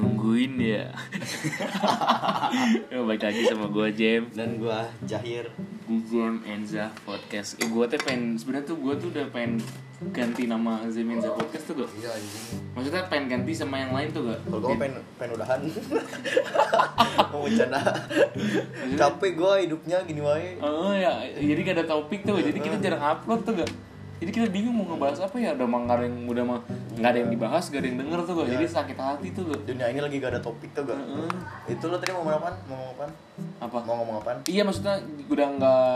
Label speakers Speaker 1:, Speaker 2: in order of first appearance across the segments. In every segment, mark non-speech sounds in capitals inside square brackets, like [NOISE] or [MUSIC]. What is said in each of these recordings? Speaker 1: nungguin ya [LAUGHS] Ya, Balik lagi sama gue Jem
Speaker 2: dan gua Jahir
Speaker 1: Gue Jem Enza Podcast eh, Gue tuh pengen sebenarnya tuh gue tuh udah pengen ganti nama Jem Enza Podcast tuh gak
Speaker 2: iya anjing
Speaker 1: Maksudnya pengen ganti sama yang lain tuh gak
Speaker 2: kalau gua pengen pengen udahan [LAUGHS] mau bencana capek gua hidupnya gini wae
Speaker 1: Oh ya, jadi gak ada topik tuh, jadi kita jarang upload tuh gak jadi kita bingung mau ngebahas apa ya udah mah nggak ada yang udah mah nggak ada yang dibahas gak ada yang denger tuh gak jadi sakit hati tuh gak
Speaker 2: dunia ini lagi gak ada topik tuh gak itu lo tadi mau ngomong apaan mau ngomong apaan
Speaker 1: apa
Speaker 2: mau ngomong apaan
Speaker 1: iya maksudnya udah nggak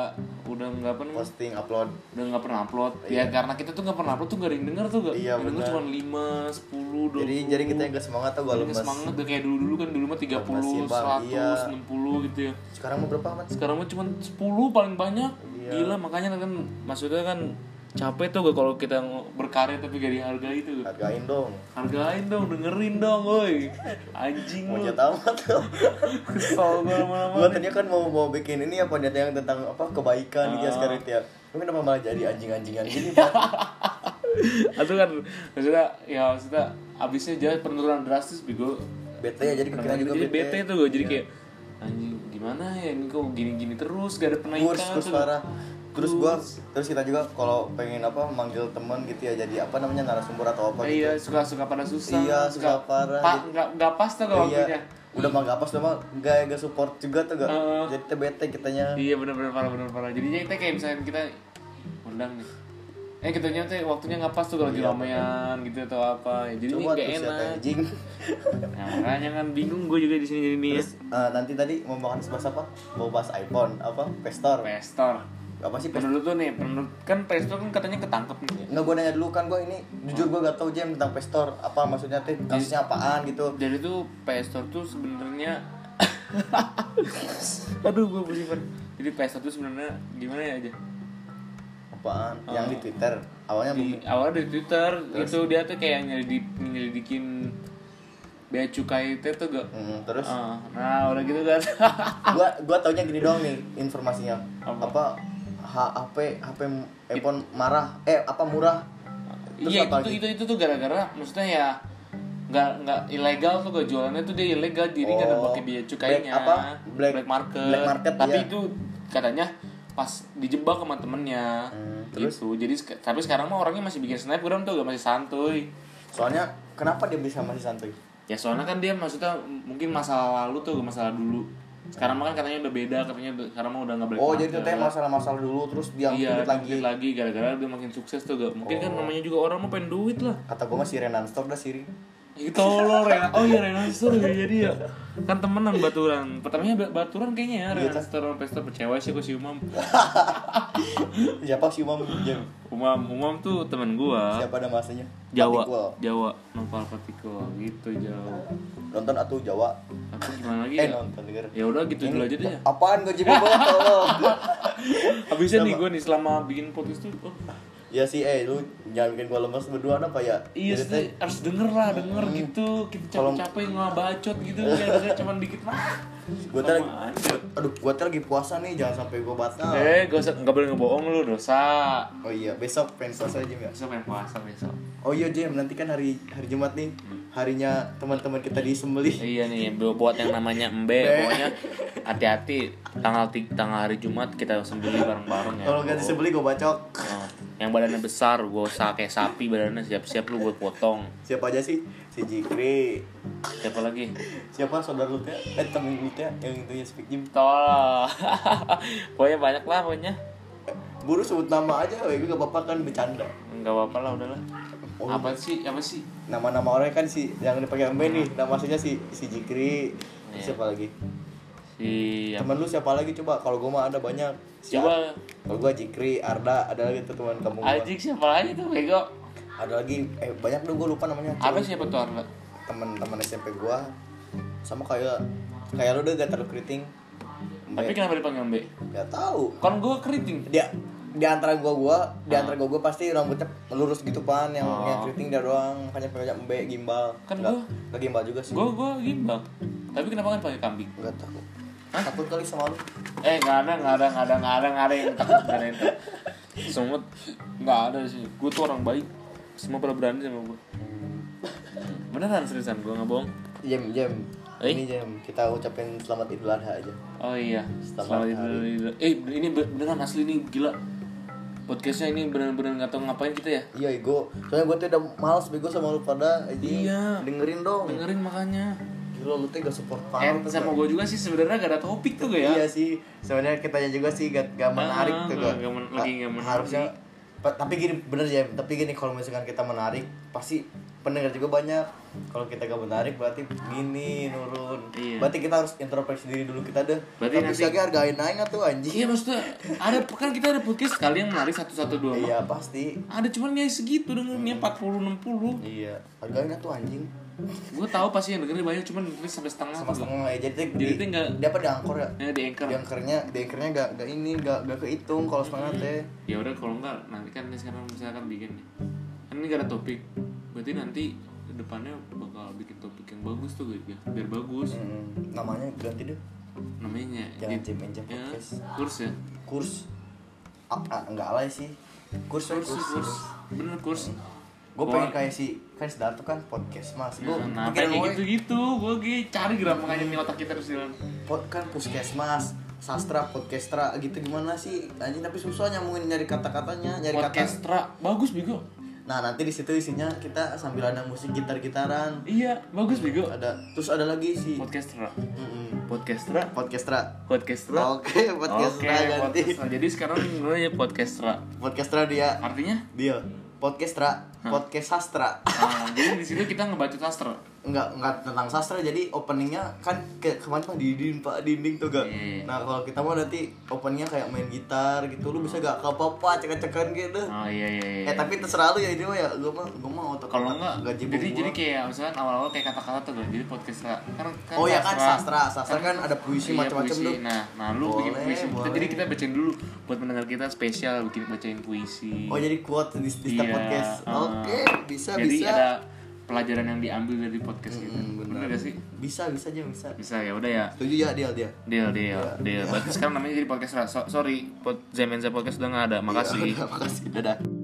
Speaker 1: udah nggak apa namanya
Speaker 2: posting upload
Speaker 1: udah nggak pernah upload ya karena kita tuh nggak pernah upload tuh gak ada yang denger tuh gak
Speaker 2: Iya,
Speaker 1: yang denger
Speaker 2: benar. Iya,
Speaker 1: cuma lima sepuluh dua
Speaker 2: jadi jadi kita yang gak semangat tuh gua lemes
Speaker 1: semangat udah kayak dulu dulu kan dulu mah tiga puluh
Speaker 2: Lemes, Bang. Iya.
Speaker 1: seratus enam puluh gitu ya
Speaker 2: sekarang mau berapa amat
Speaker 1: sekarang mah cuma sepuluh paling banyak
Speaker 2: Iya.
Speaker 1: gila makanya kan maksudnya kan capek tuh gak kalau kita ng- berkarya tapi gak dihargai tuh gak?
Speaker 2: hargain dong
Speaker 1: hargain dong dengerin dong woi anjing
Speaker 2: mau
Speaker 1: lu
Speaker 2: jatah amat tuh
Speaker 1: [LAUGHS] kesel gue lama-lama
Speaker 2: gua tadi kan mau mau bikin ini apa niat yang tentang apa kebaikan gitu ya sekarang itu ya lu kenapa malah jadi anjing-anjingan gini [LAUGHS] Pak?
Speaker 1: itu kan maksudnya ya maksudnya abisnya jadi penurunan drastis bigo
Speaker 2: bete ya jadi kita
Speaker 1: Jadi
Speaker 2: juga
Speaker 1: Iya, jadi
Speaker 2: bete Iya.
Speaker 1: bete tuh gue jadi kayak anjing gimana ya ini kok gini-gini terus gak ada penaikan
Speaker 2: kurs kurs
Speaker 1: tuh.
Speaker 2: parah terus gua terus kita juga kalau pengen apa manggil teman gitu ya jadi apa namanya narasumber atau apa
Speaker 1: Eh,
Speaker 2: gitu
Speaker 1: iya suka suka pada susah
Speaker 2: Iya, suka
Speaker 1: Nggak-
Speaker 2: parah.
Speaker 1: pa, nggak nggak pas tuh gak waktunya
Speaker 2: iya udah mah gak apa udah mah gak gak support juga tuh gak
Speaker 1: Heeh.
Speaker 2: jadi kita bete kitanya
Speaker 1: iya bener-bener parah bener parah jadinya kita kayak misalnya kita undang nih eh kita nyampe waktunya nggak pas tuh kalau lagi ramean gitu atau apa ya, jadi
Speaker 2: Iya, coba
Speaker 1: gak
Speaker 2: terus ya
Speaker 1: enak
Speaker 2: anjing [LAUGHS]
Speaker 1: nah, makanya kan bingung gue juga di sini jadi nih ya.
Speaker 2: terus eh, nanti tadi mau bahas bahas apa mau bahas iPhone apa Pestor
Speaker 1: investor
Speaker 2: apa sih Pestor
Speaker 1: menurut tuh nih menurut kan investor kan katanya ketangkep nih
Speaker 2: Nggak gue nanya dulu kan gue ini jujur gue gak tau jam tentang Pestor apa maksudnya teh kasusnya apaan gitu
Speaker 1: Jadi tuh PS Store tuh sebenarnya Aduh gue pusing banget. Jadi PS Store tuh sebenarnya gimana ya aja?
Speaker 2: apaan yang di Twitter
Speaker 1: Eh.
Speaker 2: awalnya
Speaker 1: Di awalnya dari Twitter itu dia tuh kayak nyelidik nyelidikin bea cukai itu tuh gak
Speaker 2: Mm, terus
Speaker 1: Ah, nah udah gitu kan [LAUGHS]
Speaker 2: gua gua taunya gini doang nih informasinya
Speaker 1: Apa?
Speaker 2: apa H- HP HP m- iPhone marah eh apa murah terus
Speaker 1: iya
Speaker 2: apa
Speaker 1: itu, itu itu tuh gara-gara maksudnya ya nggak nggak ilegal tuh gak jualannya tuh dia ilegal jadi nggak ada
Speaker 2: Oh,
Speaker 1: pakai biaya cukainya
Speaker 2: black apa? Black-
Speaker 1: market
Speaker 2: black market,
Speaker 1: tapi
Speaker 2: iya.
Speaker 1: itu katanya pas dijebak sama temennya
Speaker 2: Hmm,
Speaker 1: gitu jadi sek- tapi sekarang mah orangnya masih bikin snapgram tuh gak masih santuy
Speaker 2: soalnya kenapa dia bisa masih santuy
Speaker 1: ya soalnya kan dia maksudnya mungkin masalah lalu tuh masalah dulu sekarang mah kan katanya udah beda katanya udah- sekarang mah udah nggak black
Speaker 2: oh
Speaker 1: market
Speaker 2: jadi itu teh masalah-masalah dulu terus dia
Speaker 1: iya
Speaker 2: ngikut lagi Oh.
Speaker 1: lagi lagi gara-gara dia makin sukses tuh gak mungkin kan namanya juga orang mau pengen duit lah
Speaker 2: kata gua mah si Renan Store dah siri
Speaker 1: Itu lo Renan. Oh iya Renan Store ya jadi ya. Kan temenan Baturan. Pertamanya Ba- Baturan kayaknya ya
Speaker 2: Iya,
Speaker 1: Renan Store sama Pesta percaya sih gue si Umam.
Speaker 2: siapa sih Umam Jam?
Speaker 1: Umam Umam tuh temen gua.
Speaker 2: siapa ada masanya
Speaker 1: Jawa.
Speaker 2: Patikul.
Speaker 1: Jawa. Nopal Patiko gitu Jawa.
Speaker 2: nonton atau Jawa
Speaker 1: Apa gimana lagi
Speaker 2: eh
Speaker 1: ya?
Speaker 2: nonton denger
Speaker 1: Ya udah gitu dulu aja deh ya.
Speaker 2: apaan gua jadi bawa tolong
Speaker 1: Habisnya nih gua nih selama bikin podcast tuh oh,
Speaker 2: ya sih eh lu jangan bikin gua lemes berdua apa ya
Speaker 1: Iya
Speaker 2: Jadi teh, Hmm.
Speaker 1: sih, harus denger lah, denger gitu Kita capek-capek ngebacot gitu,
Speaker 2: [LAUGHS]
Speaker 1: kayak cuman dikit mah
Speaker 2: gua teh lagi-
Speaker 1: Sama aja.
Speaker 2: aduh gua teh lagi puasa nih jangan sampai gua batal
Speaker 1: Eh, gak usah, gak boleh ngebohong lu, dosa
Speaker 2: Oh iya, besok pengen selesai Jim ya.
Speaker 1: Besok main puasa besok
Speaker 2: Oh iya Jim, nanti kan hari hari Jumat nih, harinya teman-teman kita di Sembelih.
Speaker 1: Iya nih, bu- buat yang namanya Mbe, pokoknya hati-hati tanggal ti- tanggal hari Jumat kita sembelih bareng-bareng ya.
Speaker 2: Kalau nggak di Sembelih gue bacok.
Speaker 1: Oh, yang badannya besar, gue usah kayak sapi badannya siap-siap lu gue potong.
Speaker 2: Siapa aja sih? Si Jikri.
Speaker 1: Siapa lagi?
Speaker 2: Siapa saudara lu teh? Eh temen lu teh yang itu ya speak Jim.
Speaker 1: Tol. [LAUGHS] pokoknya banyak lah pokoknya.
Speaker 2: Buru sebut nama aja, gue gak apa-apa kan bercanda.
Speaker 1: Enggak apa-apa lah udahlah. Apa sih? Apa sih?
Speaker 2: Nama-nama orang kan si yang dipakai Mbe nih, nama aslinya si si Jikri. Siapa lagi?
Speaker 1: Si
Speaker 2: Temen lu siapa lagi coba? Kalau gue mah ada banyak. Siapa?
Speaker 1: Coba
Speaker 2: Kalau gue Jikri, Arda, ada lagi tuh teman kamu. gua.
Speaker 1: Ajik siapa lagi tuh bego?
Speaker 2: Ada lagi, eh banyak dong gue lupa namanya.
Speaker 1: Arda siapa tuh Arda?
Speaker 2: teman-teman SMP gua sama kayak kayak lu udah gak terlalu keriting
Speaker 1: Tapi kenapa dipanggil Mbe?
Speaker 2: gak tahu
Speaker 1: Kan gue keriting.
Speaker 2: dia di antara gua gua di
Speaker 1: Ah.
Speaker 2: antara gua gua pasti rambutnya lurus gitu pan yang yang keriting dia doang hanya banyak mbe gimbal
Speaker 1: Oh. Kan
Speaker 2: Nggak-
Speaker 1: gua-
Speaker 2: nggak gimbal juga sih
Speaker 1: Gue gue gimbal. Tapi kenapa kan pakai kambing?
Speaker 2: nggak tahu takut kali sama lu
Speaker 1: Eh nggak ada nggak ada nggak ada nggak ada nggak ada yang takut nggak ada yang takut. Semua nggak ada sih. Gue tuh orang baik. Semua pada berani sama gue. Beneran seriusan gue nggak bohong.
Speaker 2: Jam, jam.
Speaker 1: Eh?
Speaker 2: Ini jam. Kita ucapin selamat Idul Adha aja.
Speaker 1: Oh iya, selamat
Speaker 2: Selamat
Speaker 1: Idul Idul. Eh ini be- beneran asli nih gila. Podcastnya ini beneran-beneran nggak tahu ngapain kita ya.
Speaker 2: Iya, ego. Soalnya gue tuh udah males bego sama lu pada. anjing.
Speaker 1: Iya.
Speaker 2: Dengerin dong.
Speaker 1: Dengerin makanya.
Speaker 2: Gila lu tuh gak support
Speaker 1: Eh
Speaker 2: banget.
Speaker 1: sama gue juga sih sebenarnya gak ada topik tuh gak ya.
Speaker 2: Iya sih. Sebenarnya kitanya juga sih gak, gak menarik
Speaker 1: Ah,
Speaker 2: tuh gua.
Speaker 1: gak men- lagi gak menarik.
Speaker 2: Harusnya pa- tapi gini bener ya, tapi gini kalau misalkan kita menarik pasti pendengar juga banyak. Kalau kita gak menarik berarti gini nurun.
Speaker 1: Iya.
Speaker 2: Berarti kita harus introspeksi diri dulu kita deh.
Speaker 1: Berarti
Speaker 2: tapi
Speaker 1: nanti-
Speaker 2: lagi hargain aja nggak tuh anjing.
Speaker 1: Iya maksudnya ada kan kita ada podcast kali yang menarik satu satu dua.
Speaker 2: Iya pasti.
Speaker 1: Ada cuman ya segitu dengerinnya empat puluh enam puluh.
Speaker 2: Iya. Hargain nggak tuh anjing.
Speaker 1: Gue tahu pasti yang dengerin banyak cuman dengerin sampai setengah.
Speaker 2: Sama
Speaker 1: juga.
Speaker 2: setengah ya. Jadi, tuh
Speaker 1: Jadi
Speaker 2: di-
Speaker 1: tuh nggak-
Speaker 2: dia apa di angkor ya?
Speaker 1: Ya di anchor.
Speaker 2: Di angkernya, di angkernya gak, gak ini, gak, gak kehitung kalau setengah teh.
Speaker 1: ya udah kalau enggak nanti kan ini sekarang misalkan bikin nih kan ini gak ada topik berarti nanti depannya bakal bikin topik yang bagus tuh gitu ya biar bagus
Speaker 2: Hmm, namanya ganti deh.
Speaker 1: namanya
Speaker 2: Jangan
Speaker 1: gitu.
Speaker 2: jam jam
Speaker 1: ya
Speaker 2: podcast.
Speaker 1: kurs ya
Speaker 2: kurs ah, ah, enggak alay sih kurs kurs,
Speaker 1: kurs
Speaker 2: kurs,
Speaker 1: kurs bener kurs
Speaker 2: gue
Speaker 1: Gua-
Speaker 2: pengen kayak si kan Sidarto kan podcast mas gue
Speaker 1: nah, nah
Speaker 2: pikiran
Speaker 1: kayak
Speaker 2: gue
Speaker 1: gitu-gitu gue cari gerak makanya nih otak kita terus jalan
Speaker 2: pod kan puskesmas sastra podcastra gitu gimana sih anjing tapi susah nyambungin nyari kata-katanya nyari kata
Speaker 1: podcastra bagus bigo
Speaker 2: nah nanti di situ isinya kita sambil ada musik gitar-gitaran
Speaker 1: iya bagus bigo
Speaker 2: ada terus ada lagi si
Speaker 1: podcastra
Speaker 2: Mm-mm.
Speaker 1: podcastra
Speaker 2: podcastra
Speaker 1: podcastra
Speaker 2: oke podcastra ganti
Speaker 1: podcastra. jadi sekarang namanya podcastra
Speaker 2: podcastra dia
Speaker 1: artinya
Speaker 2: dia podcastra podcast sastra
Speaker 1: ah, jadi di situ kita ngebaca sastra
Speaker 2: nggak nggak tentang sastra jadi openingnya kan ke kemarin pak dinding pak dinding tuh gak
Speaker 1: Iya.
Speaker 2: nah kalau kita mau nanti openingnya kayak main gitar gitu lu bisa gak ke apa apa cek-cekan gitu
Speaker 1: oh iya iya, iya.
Speaker 2: eh tapi terserah lu ya ini mah ya gue mah gue mah otak
Speaker 1: kalau enggak
Speaker 2: gak
Speaker 1: jadi jadi kan kayak misalkan awal-awal kayak kata-kata tuh loh, jadi podcast lah kan, kan
Speaker 2: oh ya kan sastra sastra kan ada puisi
Speaker 1: Iya,
Speaker 2: macam-macam
Speaker 1: puisi.
Speaker 2: tuh
Speaker 1: nah nah lu bikin
Speaker 2: Boleh,
Speaker 1: puisi Kita-
Speaker 2: boleh.
Speaker 1: jadi kita bacain dulu buat mendengar kita spesial bikin bacain puisi
Speaker 2: oh jadi kuat di, di
Speaker 1: Iya,
Speaker 2: setiap podcast
Speaker 1: ah.
Speaker 2: oke bisa
Speaker 1: jadi
Speaker 2: bisa Hmm,
Speaker 1: ada pelajaran yang diambil dari podcast gitu bener. gak sih
Speaker 2: bisa bisa aja bisa
Speaker 1: bisa ya udah ya
Speaker 2: setuju ya dia dia
Speaker 1: deal
Speaker 2: Iya,
Speaker 1: deal
Speaker 2: Iya,
Speaker 1: deal berarti sekarang namanya jadi podcast lah. so, sorry pod Zemenza podcast udah nggak ada makasih
Speaker 2: [LAUGHS] makasih dadah